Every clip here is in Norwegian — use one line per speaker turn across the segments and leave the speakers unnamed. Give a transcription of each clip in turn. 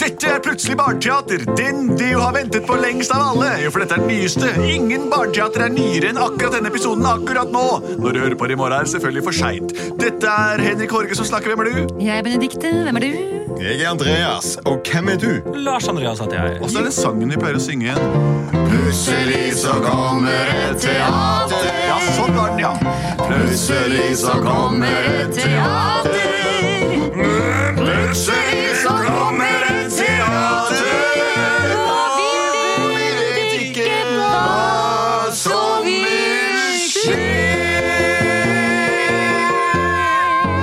Dette er plutselig barneteater. Den de jo har ventet på lengst av alle. Jo, for dette er den nyeste. Ingen barneteater er nyere enn akkurat denne episoden akkurat nå. Når du hører på det i morgen, er det selvfølgelig for seint. Dette er Henrik Horge som snakker. Hvem er du?
Jeg er Benedikte. Hvem er du?
Jeg er Andreas, og hvem er du?
Lars Andreas heter jeg.
Og så er det sangen vi pleier å synge igjen.
Plutselig så kommer et teater.
Ja, sånn var den, ja.
Plutselig så kommer et teater. Plutselig så kommer et teater. Og vi vet ikke hva som vil skje.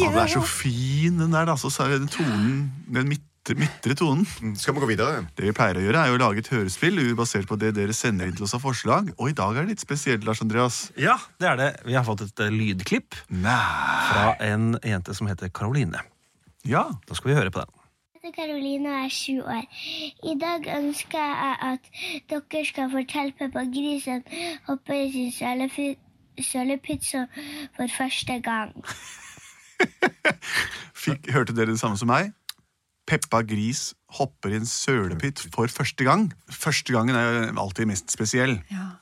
Den er så fin, den der, da. Så er det den tonen, den midtre, midtre tonen.
Skal vi gå videre?
Det vi pleier å gjøre, er jo å lage et hørespill basert på det dere sender inn til oss av forslag. Og i dag er det litt spesielt, Lars Andreas.
Ja, det er det. Vi har fått et eh, lydklipp
Nei.
fra en jente som heter Karoline.
Ja.
Da skal vi høre på den.
heter Karoline og er sju år. I dag ønsker jeg at dere skal fortelle Peppa Grisen hopper i sin sølepy- sølepytt for første gang.
Fikk, hørte dere det samme som meg? Peppa Gris hopper i en sølepytt for første gang. Første gangen er jo alltid mest spesiell.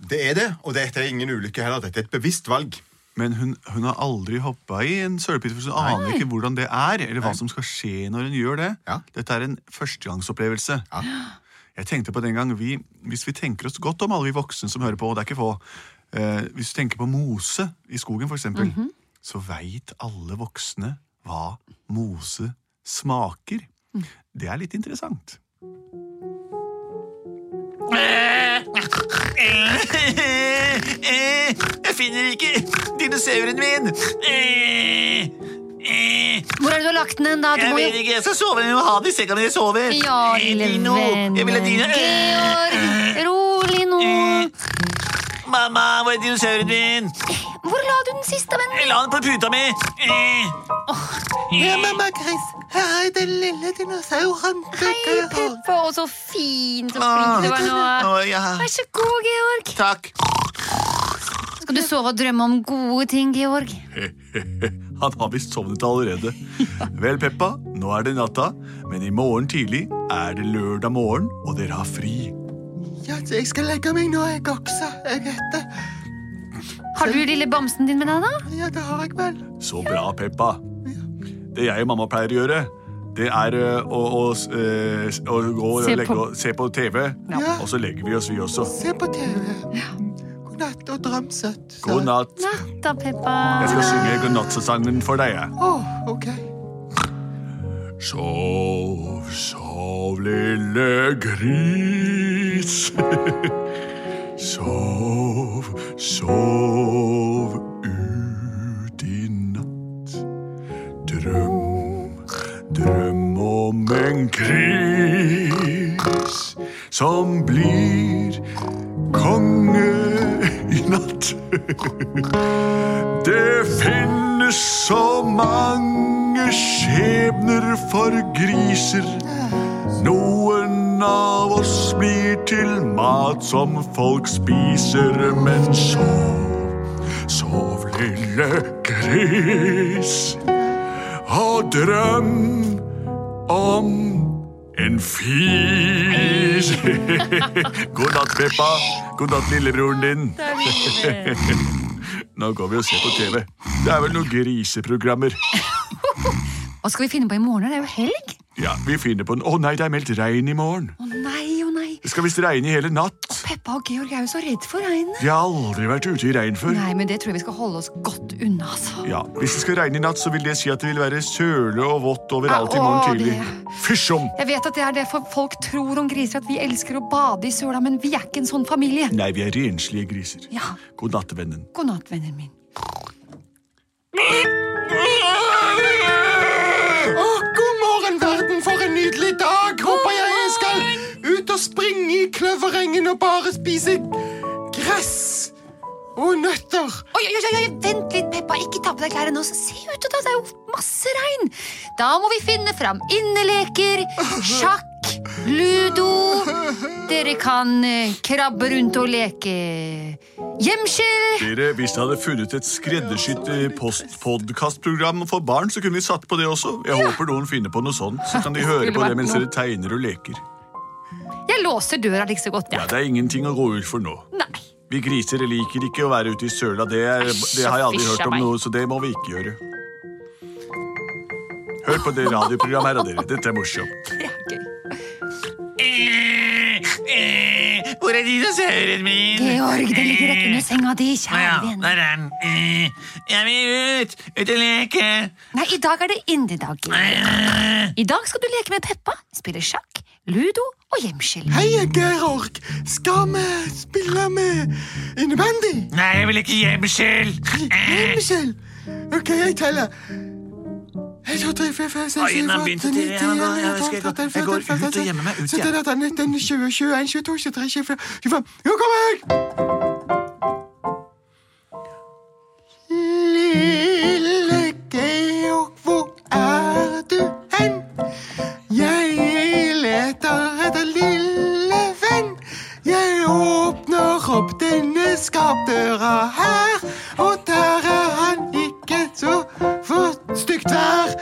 Det er det, og dette er ingen ulykke heller. Dette er et bevisst valg.
Men hun, hun har aldri hoppa i en sølepytt, for hun aner ikke hvordan det er. Eller hva som skal skje når hun gjør det.
Ja.
Dette er en førstegangsopplevelse.
Ja.
Jeg tenkte på den gang vi, Hvis vi tenker oss godt om alle vi voksne som hører på, og det er ikke få eh, Hvis du tenker på mose i skogen, for eksempel,
Mhm.
så veit alle voksne hva mose smaker.
Mm.
Det er litt interessant. Jeg finner ikke dinosauren min!
Hvor er det du har lagt den hen, da? Du må jo
ikke, jeg skal sove. Jeg må ha den i senga når jeg sover. Eh,
Ja, lille venn. Georg, rolig nå.
Mamma, hvor er dinosauren min?
Hvor la du den siste, venn?
La den på puta mi! Eh,
Ja, mamma Gris, her er den lille dinosauren.
Hei, Peppa. Å, så fint og flink du var
Ah.
Ah.
nå. Vær så god, Georg.
Takk.
Skal du sove og drømme om gode ting, Georg?
Han har visst sovnet allerede. Vel, Peppa, nå er det natta, men i morgen tidlig er det lørdag morgen, og dere har fri.
Ja, så jeg skal legge meg nå, jeg også. Jeg vet det.
Har du lille bamsen din med deg, da?
Ja, det har jeg vel.
Så bra, Peppa. Det jeg og mamma pleier å gjøre, det er ø, å, å, s- ø, s- å gå og
Se
legge,
på-
og- se på TV,
Ja.
og så legger vi oss, vi også.
Se på TV. God natt og drøm søtt. sa
God
jeg.
natt.
Natt da, Peppa.
Jeg skal synge godnattsesangen for deg. jeg.
Å, ok.
Sov, sov, lille gris. sov, sov ut i natt. Drøm, drøm om en gris som blir konge i natt. Det finnes så mange skjebner for griser. Noen av oss blir til mat som folk spiser, men sov, sov, lille gris, og drøm om en fis. God natt, Peppa. God natt, lillebroren din.
Det er nydelig.
Nå går vi og ser på TV. Det er vel noen griseprogrammer.
Hva skal vi finne på i morgen? Det er jo helg.
Ja, Vi finner på en Å nei, det er meldt regn i morgen.
Å nei, å nei.
Det skal visst regne i hele natt.
Peppa og Georg er jo så redd for regnet.
De har aldri vært ute i regn før.
Nei, men det tror jeg vi skal holde oss godt unna, altså.
Ja, Hvis det skal regne i natt, så vil det si at det vil være søle og vått overalt i morgen
Å,
tidlig.
det-
Fysj om!
Jeg vet at det er det for folk tror om griser, at vi elsker å bade i søla, men vi er ikke en sånn familie.
Nei, vi er renslige griser.
Ja,
God natt, vennen.
god natt, vennen min.
Å, god morgen, verden, for gangen og bare spise gress og nøtter.
Oi, oi, oi, oi, vent litt, Peppa. Ikke ta på deg klærne nå. så Se ut, da. Det er jo masse regn. Da må vi finne fram inneleker, sjakk, ludo. Dere kan eh, krabbe rundt og leke gjemsel.
Dere, Hvis jeg hadde funnet et skreddersydd eh, post- podcastprogram for barn, så kunne vi satt på det også. Jeg håper noen finner på noe sånt, så kan de høre
skulle
på
vært
det mens
noe.
dere tegner og leker.
Jeg låser døra like så godt,
Ja,
jeg.
Det er ingenting å gå ut for nå.
Nei.
Vi griser liker ikke å være ute i søla, det, er,
Æsj,
det har jeg aldri
fysj
hørt
av
om
meg.
noe, så det må vi ikke gjøre. Hør på det radioprogrammet her, da, dere. Dette er morsomt.
Det er gøy.
Eh, Hvor er dinosauren min? Eh.
Georg, det ligger rett under senga di,
Å ja,
kjære venn.
der er den. Eh, Jeg vil ut! Ut og leke!
Nei, i dag er det innedag.
Eh.
I dag skal du leke med Peppa, spille sjakk, ludo og gjemsel.
Hei, Georg. Skal vi spille med innebandy?
Nei, jeg vil ikke gjemsel!
Michel. Ok, jeg teller. 1, 2, 3, 4, 5, 6, 7, 8, 9, 10,
Øynene har begynt å tirre igjen, og jeg
11, 12, eh,
skal gå- jeg går ut og
13,
gjemmer meg ut
14, 15, 16, 17, 18, 19, 20, 21, 22, 23, 24, 25. Nå kommer jeg! Lille Georg, hvor er du hen? Jeg leter etter lille venn. Jeg åpner opp denne skapdøra her, og der er han ikke så for stygt vær.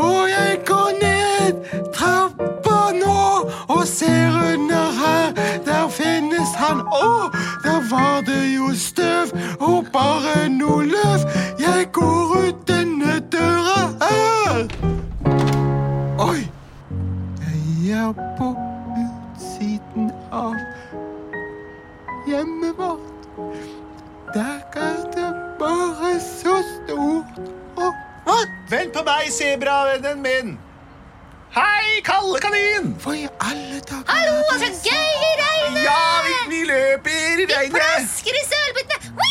Og jeg går ned trappa nå og ser under her. Der finnes han. Å, der var det jo støv og bare noe løv. Jeg går ut denne døra her. Oi! Jeg er på utsiden av hjemmet vårt. Der er det bare så stort og vått.
Vent på meg, sebravennen min! Hei, Kalle kanin!
Hva i alle dager
Hallo, så gøy i regnet!
Ja, vi, vi løper i regnet!
Plasker i sølbøttene!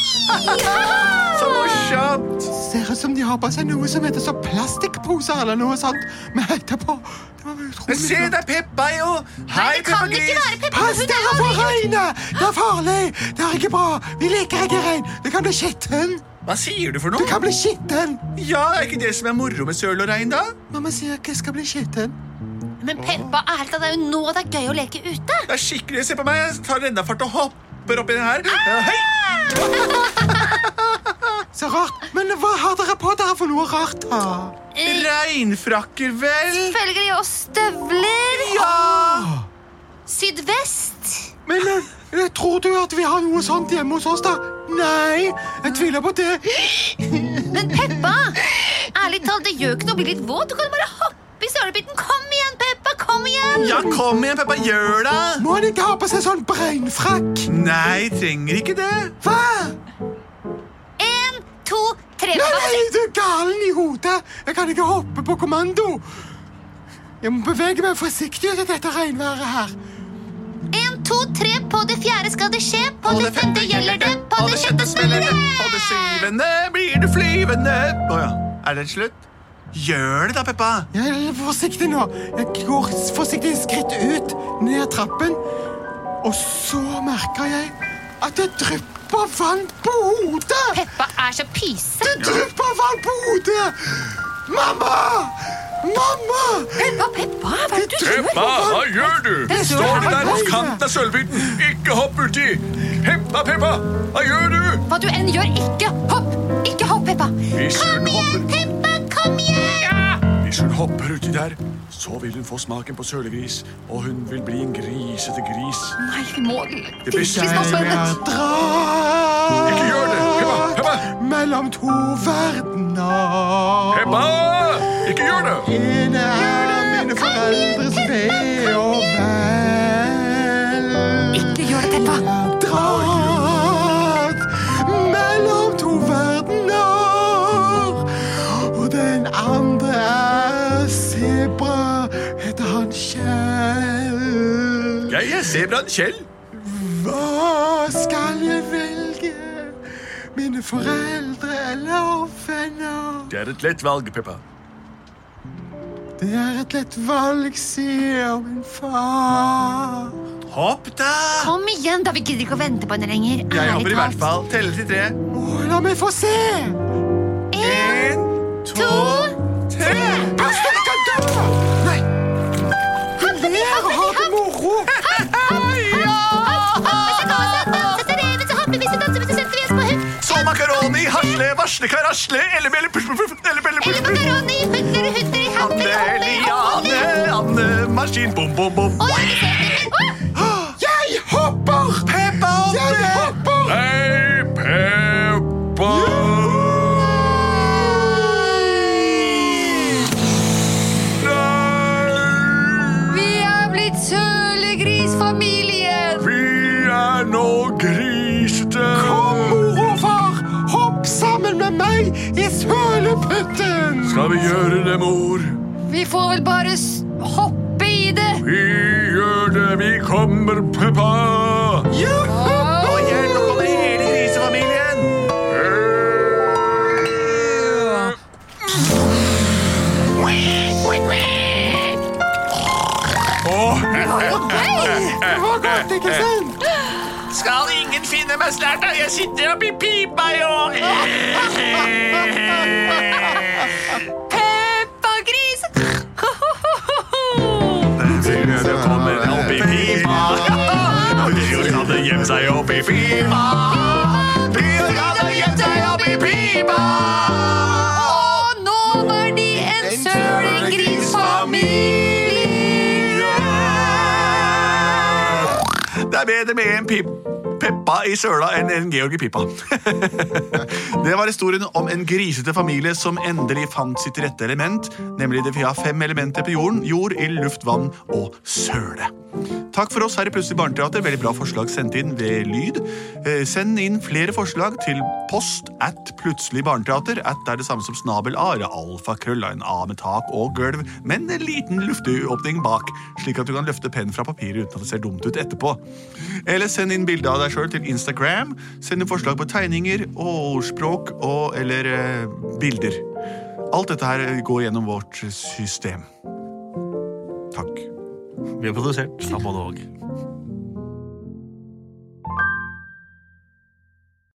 Så morsomt!
Ser ut som de har på seg noe som heter så plastikkposer eller noe sånt. Men etterpå Det var
Men
utrolig
se,
flott.
det er Peppa, jo! Hei,
Det
Peppa
kan ikke
Gris!
være Peppa.
Pass dere for regnet! Det er farlig! Det er ikke bra! Vi liker ikke regn! Du kan bli skitten!
Hva sier du for
Du
noe?
kan bli skitten!
Ja, Er ikke det som er moro med søl og regn, da?
Mamma sier ikke jeg skal bli skitten.
Men Peppa, ærlig talt, det er jo nå det er gøy å leke ute.
Det er skikkelig, Se på meg, jeg tar rennafart og hopper oppi den her. Eh, Hei!
Så rart. Men hva har dere på dere for noe rart, da?
Eh,
Regnfrakker, vel?
Følgelig og støvler.
Ja!
Sydvest.
Men eh, eh, tror du at vi har noe sånt hjemme hos oss, da? Nei, jeg tviler på det.
Men Peppa, ærlig talt, det gjør ikke noe å bli litt våt. Du kan bare hoppe i sølebiten. Kom igjen, Peppa, kom igjen!
Ja, kom igjen, Peppa, gjør det!
Må en ikke ha på seg sånn breinfrakk?
Nei, trenger ikke det.
Hva?
En, to, tre.
Nei,
Peppa.
nei, du er galen i hodet! Jeg kan ikke hoppe på kommando. Jeg må bevege meg forsiktig ut i dette regnværet her.
En, to, tre, på det fjerde skal det skje. På det femte gjelder det, på det sjette smeller det.
På det syvende blir du flyvende. Å ja. Er det slutt? Gjør det da, Peppa.
Jeg er forsiktig nå. Jeg går s- forsiktig skritt ut ned trappen. Og så merker jeg at det drypper vann på hodet!
Peppa er så pyse.
Det drypper vann på hodet! Mamma! Mamma!
Peppa, Peppa, hva er det du gjør?
Peppa, hva gjør du? Står du der hos kanten av sølvbiten? Ikke hopp uti. Peppa, Peppa, hva gjør du?
Hva du enn gjør, ikke hopp! Ikke hopp, Peppa!
Hvis hun
Kom igjen,
hopper,
Peppa! Kom igjen!
Hvis hun hopper uti der, så vil hun få smaken på sølegris, og hun vil bli en grisete gris.
Nei, vi må
Det blir
virkelig snakke sammen.
Drar
Altså, Ikke gjør det. Peppa, Peppa,
mellom to verdener.
Peppa! Ikke gjør det.
Ene er mine foreldres ve og vel.
Ikke gjør det, Peppa.
Jeg dratt mellom to verdener. Og den andre er sebra, heter han Kjell.
Jeg er sebraen Kjell.
Hva skal jeg velge? Mine foreldre eller venner?
Det er et lett valg, Peppa.
Det er et lett valg, sier min far.
Hopp, da!
Kom igjen, da. Vi gidder ikke å vente på henne lenger.
Jeg
Ærlig
hopper i hvert
talt.
fall. Teller til tre.
Å, la meg få se!
En, to, tre!
Pass deg, du kan dø! Nei! Hun ler og har det moro!
Så makaroni, hasle, varslekar, asle, ellebelle, puff, puff, puff, ellebelle, puff, puff. Anne, Anne, maskin, bom, bom, bom.
Jeg hopper! Peppa
Ah, oh,
hopper! Jeg hopper!
Hei, Peppa! Nei,
Vi er blitt sølegrisfamilien.
vi er nå grisete.
Kom, mor og far, hopp sammen med meg i søleputten!
Skal vi gjøre det, mor?
Vi får vel bare s- hoppe i det.
Vi gjør det. Vi kommer, Peppa.
Å, hjelp, nå kommer hele grisefamilien.
Åh,
Det var godt, ikke sant?
Skal ingen finne meg snart, da? Jeg sitter oppi pipa i år.
Peppa Gris.
Det kommer oppi pipa. Bjørkane gjemmer seg oppi pipa. Bjørkane gjemmer seg oppi pipa.
Og nå var de en sølegrisfamilie.
Det er bedre med en pip. Peppa i søla enn en Georg i pipa.
Det var historien om en grisete familie som endelig fant sitt rette element, nemlig det vi har fem elementer på jorden, jord, ild, luft, vann og søle. Takk for oss her i Plutselig barneteater. Veldig bra forslag sendt inn ved lyd. Eh, Send inn flere forslag til post at plutselig barneteater. At er det samme som snabel a, eller alfakrøll av en a med tak og gulv, men en liten lufteåpning bak, slik at du kan løfte pennen fra papiret uten at det ser dumt ut etterpå. Eller send inn bilde av deg sjøl til Instagram. Send inn forslag på tegninger og ordspråk og eller eh, bilder. Alt dette her går gjennom vårt system. Takk.
Vi har produsert av både og.